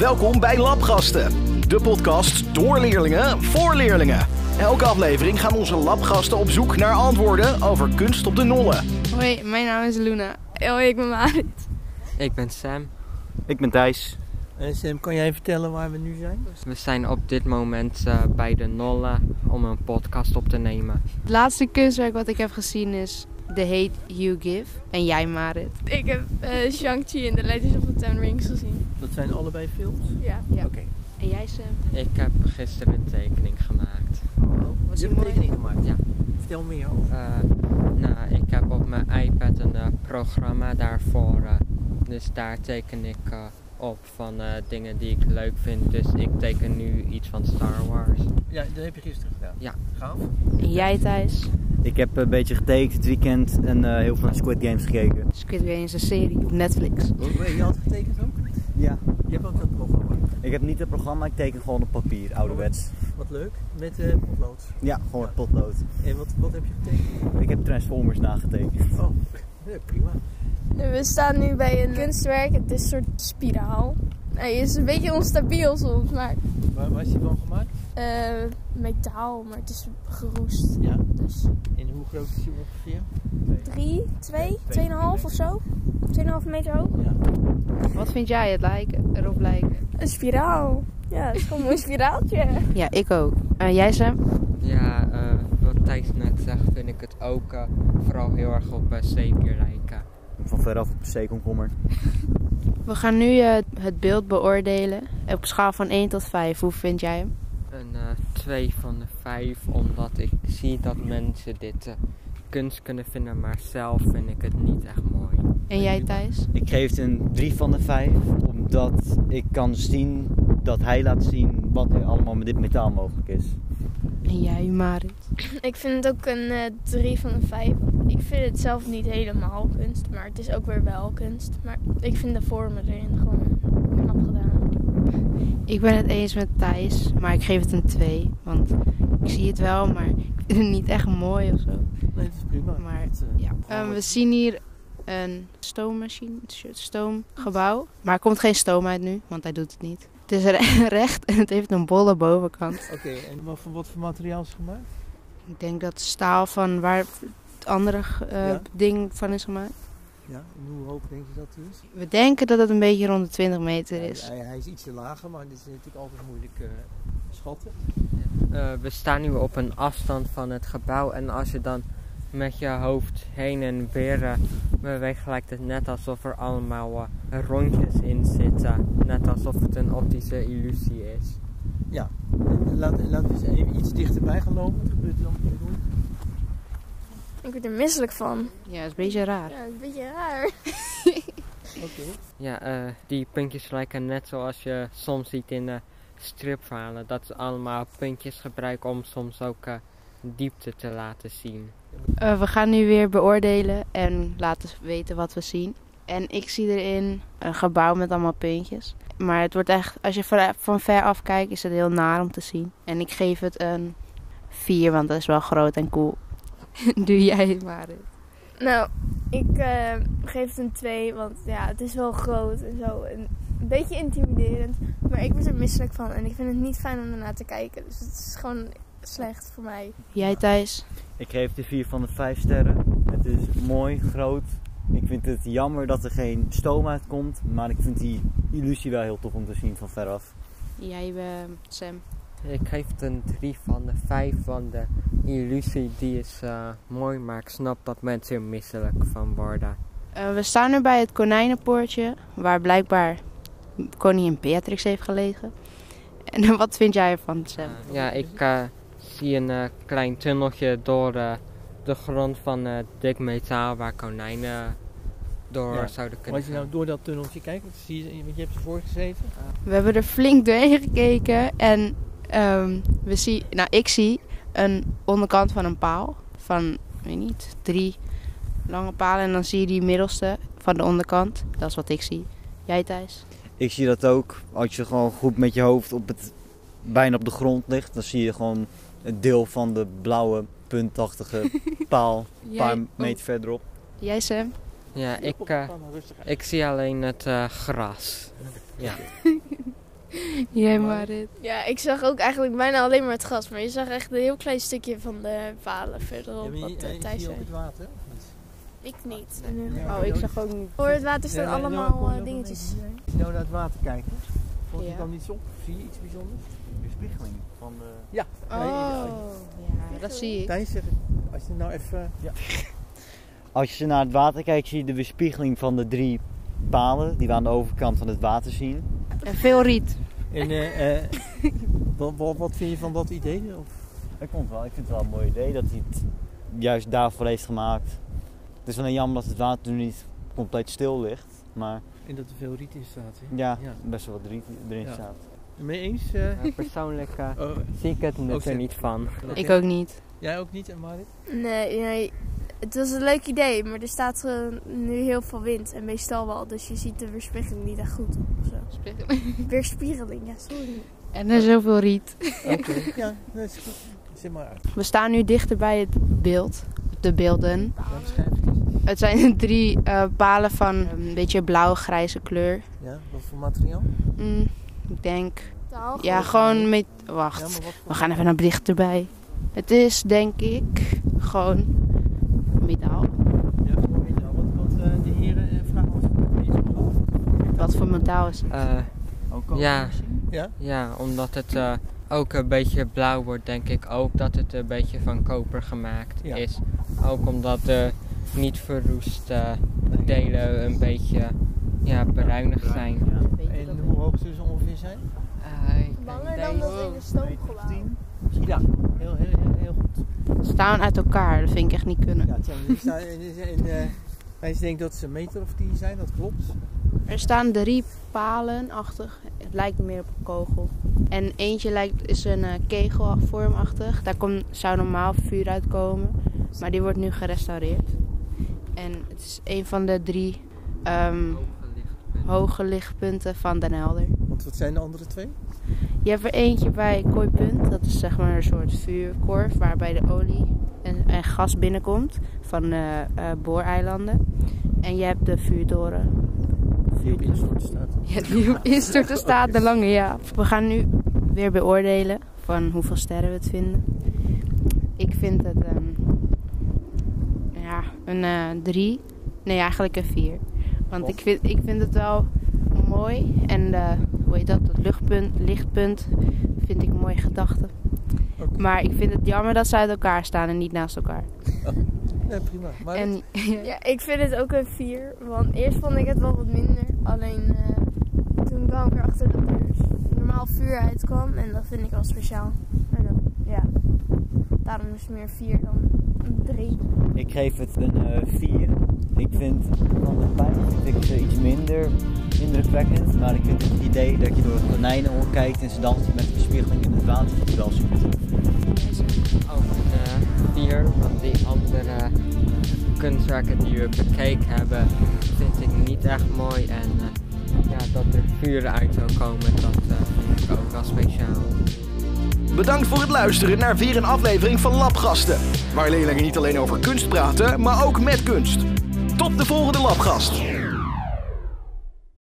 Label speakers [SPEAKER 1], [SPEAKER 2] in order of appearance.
[SPEAKER 1] Welkom bij Labgasten, de podcast door leerlingen voor leerlingen. Elke aflevering gaan onze labgasten op zoek naar antwoorden over kunst op de nollen.
[SPEAKER 2] Hoi, mijn naam is Luna.
[SPEAKER 3] Oh,
[SPEAKER 2] Hoi, ik ben Marit.
[SPEAKER 4] Ik ben Sam.
[SPEAKER 5] Ik ben Thijs.
[SPEAKER 6] Eh, Sam, kan jij vertellen waar we nu zijn?
[SPEAKER 4] We zijn op dit moment eh, bij de Nolle om een podcast op te nemen.
[SPEAKER 2] Het laatste kunstwerk wat ik heb gezien is The Hate You Give. En jij, Marit.
[SPEAKER 7] Ik heb eh, Shang-Chi in The Legends of the Ten Rings gezien.
[SPEAKER 6] Dat zijn allebei films.
[SPEAKER 7] Ja.
[SPEAKER 2] Ja.
[SPEAKER 6] Oké.
[SPEAKER 2] En jij, Sam.
[SPEAKER 4] Ik heb gisteren een tekening gemaakt.
[SPEAKER 2] Wat
[SPEAKER 6] Je
[SPEAKER 2] zo
[SPEAKER 6] hebt een
[SPEAKER 2] oh, mooi.
[SPEAKER 6] tekening gemaakt.
[SPEAKER 4] Ja.
[SPEAKER 6] Vertel meer over.
[SPEAKER 4] Eh, nou, ik heb op mijn iPad een eh, programma daarvoor. eh, dus daar teken ik eh, op van eh, dingen die ik leuk vind. Dus ik teken nu iets van Star Wars.
[SPEAKER 6] Ja, dat heb je gisteren gedaan.
[SPEAKER 4] Ja.
[SPEAKER 6] Gaaf.
[SPEAKER 2] En jij, Thijs.
[SPEAKER 5] Ik heb een beetje getekend dit weekend en eh, heel veel naar Squid Games gekeken.
[SPEAKER 2] Squid Game is een serie op Netflix.
[SPEAKER 6] Hoe- Je had getekend ook?
[SPEAKER 5] Ja.
[SPEAKER 6] Je hebt ook dat programma.
[SPEAKER 5] Ik heb niet het programma, ik teken gewoon op papier, ouderwets.
[SPEAKER 6] Wat leuk. Met eh potlood.
[SPEAKER 5] Ja, gewoon met potlood.
[SPEAKER 6] En wat, wat heb je getekend?
[SPEAKER 5] Ik heb Transformers nagetekend.
[SPEAKER 6] Oh, ja, prima.
[SPEAKER 7] We staan nu bij een kunstwerk. Het is een soort spiraal. Hij is een beetje onstabiel soms, maar
[SPEAKER 6] Waar, waar is die van gemaakt?
[SPEAKER 7] eh, metaal, maar het is geroest.
[SPEAKER 6] Ja.
[SPEAKER 7] Dus
[SPEAKER 6] En hoe groot is die ongeveer?
[SPEAKER 7] 3, 2, 2,5 of zo. 2,5 meter hoog.
[SPEAKER 2] Wat vind jij het lijken, erop lijken?
[SPEAKER 7] Een spiraal. Ja, het is gewoon een mooi spiraaltje.
[SPEAKER 2] Ja, ik ook. En jij, Sam?
[SPEAKER 4] Ja, eh, wat Thijs net zegt, vind ik het ook eh, vooral heel erg op eh zeepier lijken.
[SPEAKER 5] Van veraf op een C-komkommer.
[SPEAKER 2] We gaan nu eh, het beeld beoordelen. Op schaal van 1 tot 5. Hoe vind jij hem?
[SPEAKER 4] een 2 van de 5, omdat ik zie dat mensen dit eh, kunst kunnen vinden, maar zelf vind ik het niet echt mooi.
[SPEAKER 2] En jij, Thijs?
[SPEAKER 5] Ik geef het een 3 van de 5, omdat ik kan zien dat hij laat zien wat er allemaal met dit metaal mogelijk is.
[SPEAKER 2] En jij, Marit.
[SPEAKER 3] Ik vind het ook een 3 van de 5. Ik vind het zelf niet helemaal kunst, maar het is ook weer wel kunst. Maar ik vind de vormen erin gewoon knap gedaan.
[SPEAKER 2] Ik ben het eens met Thijs, maar ik geef het een 2. Want ik zie het wel, maar ik vind het niet echt mooi of zo.
[SPEAKER 6] Nee, dat is prima.
[SPEAKER 2] Maar,
[SPEAKER 6] Het, eh,
[SPEAKER 2] Ja.
[SPEAKER 6] programma-
[SPEAKER 2] Ehm, we zien hier een stoommachine, een soort stoomgebouw. Maar er komt geen stoom uit nu, want hij doet het niet. Het is re- recht en het heeft een bolle bovenkant.
[SPEAKER 6] Oké, en wat, voor- wat voor materiaal is het gemaakt?
[SPEAKER 2] Ik denk dat staal van waar het andere eh,
[SPEAKER 6] Ja.
[SPEAKER 2] ding van is gemaakt.
[SPEAKER 6] Ja. En hoe hoog denk je dat die is?
[SPEAKER 2] We denken dat het een beetje rond de 20 meter
[SPEAKER 6] Ja,
[SPEAKER 2] is.
[SPEAKER 6] Hij, hij is ietsje lager, maar dit is natuurlijk altijd moeilijk eh, schatten.
[SPEAKER 4] Eh, we staan nu op een afstand van het gebouw en als je dan met je hoofd heen en weer eh, beweegt, lijkt het net alsof er allemaal eh, rondjes in zitten. Net alsof het een optische illusie is.
[SPEAKER 6] Laat, laten we eens even iets dichterbij gaan lopen. Wat gebeurt er dan?
[SPEAKER 3] Ik word er misselijk van.
[SPEAKER 2] Ja, dat is een beetje raar.
[SPEAKER 3] Ja, een beetje raar.
[SPEAKER 6] Oké.
[SPEAKER 4] Ja, eh, die puntjes lijken net zoals je soms ziet in eh stripverhalen. Dat ze allemaal puntjes gebruiken om soms ook eh, diepte te laten zien.
[SPEAKER 2] Eh, we gaan nu weer beoordelen en laten weten wat we zien. En ik zie erin een gebouw met allemaal puntjes. Maar het wordt echt, als je van, van ver af kijkt, is het heel naar om te zien. En ik geef het een 4, want dat is wel groot en cool. Doe jij het maar.
[SPEAKER 3] Nou, ik eh, geef het een 2, want ja, het is wel groot en zo. En een beetje intimiderend, maar ik word er misselijk van. En ik vind het niet fijn om ernaar te kijken. Dus het is gewoon slecht voor mij.
[SPEAKER 2] Jij Thijs?
[SPEAKER 5] Ik geef de 4 van de 5 sterren. Het is mooi, groot. Ik vind het jammer dat er geen stoom uitkomt, maar ik vind die illusie wel heel tof om te zien van veraf.
[SPEAKER 2] Jij eh, Sam?
[SPEAKER 4] Ik geef het een 3 van de 5, want de illusie die is eh, mooi, maar ik snap dat mensen er misselijk van worden.
[SPEAKER 2] Eh, we staan nu bij het konijnenpoortje, waar blijkbaar koningin Beatrix heeft gelegen. En wat vind jij ervan, Sam?
[SPEAKER 4] Eh, ja, ik eh, zie een eh, klein tunneltje door eh, de grond van eh, dik metaal waar konijnen eh, door
[SPEAKER 6] Ja,
[SPEAKER 4] zouden
[SPEAKER 6] Maar
[SPEAKER 4] kunnen
[SPEAKER 6] als je
[SPEAKER 4] gaan.
[SPEAKER 6] nou door dat tunneltje kijkt, want zie je, want je hebt ervoor gezeten.
[SPEAKER 2] We hebben er flink doorheen gekeken en ehm, we zien, nou ik zie een onderkant van een paal van, weet niet, drie lange palen en dan zie je die middelste van de onderkant. Dat is wat ik zie. Jij Thijs?
[SPEAKER 5] Ik zie dat ook. Als je gewoon goed met je hoofd op het, bijna op de grond ligt, dan zie je gewoon een deel van de blauwe puntachtige paal een paar meter verderop.
[SPEAKER 2] Jij Sam?
[SPEAKER 4] Ja, ik,
[SPEAKER 6] Kom,
[SPEAKER 4] eh,
[SPEAKER 6] ga maar rustig uit.
[SPEAKER 4] ik zie alleen het eh, gras.
[SPEAKER 2] Jij maar dit.
[SPEAKER 3] Ja, ik zag ook eigenlijk bijna alleen maar het gras. Maar je zag echt een heel klein stukje van de palen verderop.
[SPEAKER 6] maar je-
[SPEAKER 3] wat eh,
[SPEAKER 6] je
[SPEAKER 3] Thijs
[SPEAKER 6] ziet
[SPEAKER 3] zei.
[SPEAKER 6] ook het water. of
[SPEAKER 3] Ik
[SPEAKER 6] niet?
[SPEAKER 3] niet.
[SPEAKER 6] Ja.
[SPEAKER 2] Oh, ik zag ook niet.
[SPEAKER 3] Voor het water
[SPEAKER 6] Ja,
[SPEAKER 3] staan
[SPEAKER 6] nee, Noah, kom
[SPEAKER 3] allemaal
[SPEAKER 6] je
[SPEAKER 3] eh,
[SPEAKER 6] ook
[SPEAKER 3] dingetjes.
[SPEAKER 6] een beetje hierheen? Als je nou naar het water kijkt, vond je
[SPEAKER 2] Ja.
[SPEAKER 6] dan iets op? Zie je iets bijzonders?
[SPEAKER 8] Weerspiegeling van eh,
[SPEAKER 2] Oh, ja, dat zie ik.
[SPEAKER 6] Thijs zegt, als je nou even... Ja.
[SPEAKER 5] Als je naar het water kijkt, zie je de weerspiegeling van de drie palen die we aan de overkant van het water zien.
[SPEAKER 2] En veel riet.
[SPEAKER 6] En eh, eh, wat, wat, wat vind je van dat idee? Of,
[SPEAKER 5] Ik, vond wel, ik vind het wel een mooi idee dat hij het juist daarvoor heeft gemaakt. Het is alleen jammer dat het water nu niet compleet stil ligt. Maar
[SPEAKER 6] en dat er veel riet in staat. Hè?
[SPEAKER 5] ja,
[SPEAKER 6] Ja.
[SPEAKER 5] best wel wat riet erin
[SPEAKER 6] Ja.
[SPEAKER 5] staat.
[SPEAKER 6] Mee eens? eh?
[SPEAKER 4] Maar persoonlijk eh,
[SPEAKER 6] Oh,
[SPEAKER 4] zie ik het net
[SPEAKER 6] Ook
[SPEAKER 4] er
[SPEAKER 6] zin.
[SPEAKER 4] niet van.
[SPEAKER 2] Ik ook niet.
[SPEAKER 6] Jij ook niet, en Marit?
[SPEAKER 3] Nee, nee, het was een leuk idee. Maar er staat eh, nu heel veel wind. En meestal wel. Dus je ziet de weerspiegeling niet echt goed. of zo. Weerspiegeling, ja, sorry.
[SPEAKER 2] En er is zoveel riet.
[SPEAKER 6] Oké. ja, dat is goed. Zet maar uit.
[SPEAKER 2] We staan nu dichter bij het beeld. De beelden.
[SPEAKER 6] Ja, beschrijf het eens.
[SPEAKER 2] Het zijn drie eh, palen van een beetje blauw-grijze kleur.
[SPEAKER 6] Ja, wat voor materiaal?
[SPEAKER 2] Mm, ik denk.
[SPEAKER 3] Taal.
[SPEAKER 2] Ja, gewoon met.
[SPEAKER 6] Ja,
[SPEAKER 2] Wacht.
[SPEAKER 6] maar wat
[SPEAKER 2] We
[SPEAKER 6] voor...
[SPEAKER 2] gaan even naar bericht erbij. Het is denk ik gewoon metaal.
[SPEAKER 6] Ja, gewoon metaal. Wat, wat eh, de heren eh, vragen ons iets op af.
[SPEAKER 2] Wat voor metaal is het?
[SPEAKER 4] Eh,
[SPEAKER 8] ook
[SPEAKER 4] ja.
[SPEAKER 6] Ja?
[SPEAKER 4] ja, omdat het eh, ook een beetje blauw wordt, denk ik ook dat het een beetje van koper gemaakt
[SPEAKER 6] Ja.
[SPEAKER 4] is. Ook omdat de niet verroeste delen een beetje ja, bruinig zijn.
[SPEAKER 6] En hoe hoog zullen ze ongeveer zijn?
[SPEAKER 4] Eh, ik
[SPEAKER 3] Banger
[SPEAKER 4] denk
[SPEAKER 3] dan dat in de stoomgebouw.
[SPEAKER 6] Ja, heel, heel, heel, heel goed.
[SPEAKER 2] Staan uit elkaar, dat vind ik echt niet kunnen.
[SPEAKER 6] Ja, het zijn, er staan- en, en, en, eh, hij denkt dat ze een meter of tien zijn, dat klopt.
[SPEAKER 2] Er staan drie palen achtig. Het lijkt meer op een kogel. En eentje lijkt, is een eh, kegelvormachtig. Daar komt zou normaal vuur uitkomen. Maar die wordt nu gerestaureerd. En het is een van de drie ehm, hoge lichtpunten van Den Helder.
[SPEAKER 6] Want wat zijn de andere twee?
[SPEAKER 2] Je hebt er eentje bij Kooipunt. Dat is zeg maar een soort vuurkorf waarbij de olie en, en gas binnenkomt van eh, eh, booreilanden. En je hebt de vuurtoren.
[SPEAKER 6] Die dus op instort staat.
[SPEAKER 2] Ja, die op instorten staat de lange ja. We gaan nu weer beoordelen van hoeveel sterren we het vinden. Ik vind het ehm, ja, een eh, drie. Nee, eigenlijk een vier. Want ik vind, ik vind het wel mooi. En eh, hoe heet dat? Dat luchtpunt, lichtpunt vind ik een mooie gedachte.
[SPEAKER 6] Oké.
[SPEAKER 2] Maar ik vind het jammer dat ze uit elkaar staan en niet naast elkaar.
[SPEAKER 6] Ja, prima. Maar
[SPEAKER 2] En
[SPEAKER 3] Ja, ik vind het ook een 4. Want eerst vond ik het wel wat minder. Alleen eh, toen kwam ik erachter dat er normaal vuur uitkwam. En dat vind ik wel speciaal. En dat, ja, daarom is het meer 4 dan 3.
[SPEAKER 5] Ik geef het een eh, 4. Ik vind van de pijn vind ik het eh, iets minder indrukwekkend. Maar ik vind het idee dat je door konijnen omkijkt en ze dansen met de bespiegeling in het water vind ik wel super. tof.
[SPEAKER 4] ook een eh, vier, want die andere eh, kunstwerken die we bekeken hebben, vind ik niet echt mooi. En eh, ja, dat er vuur uit zou komen, dat eh, vind ik ook wel speciaal.
[SPEAKER 1] Bedankt voor het luisteren naar weer een aflevering van Labgasten. Waar leerlingen niet alleen over kunst praten, maar ook met kunst. Tot de volgende Labgast.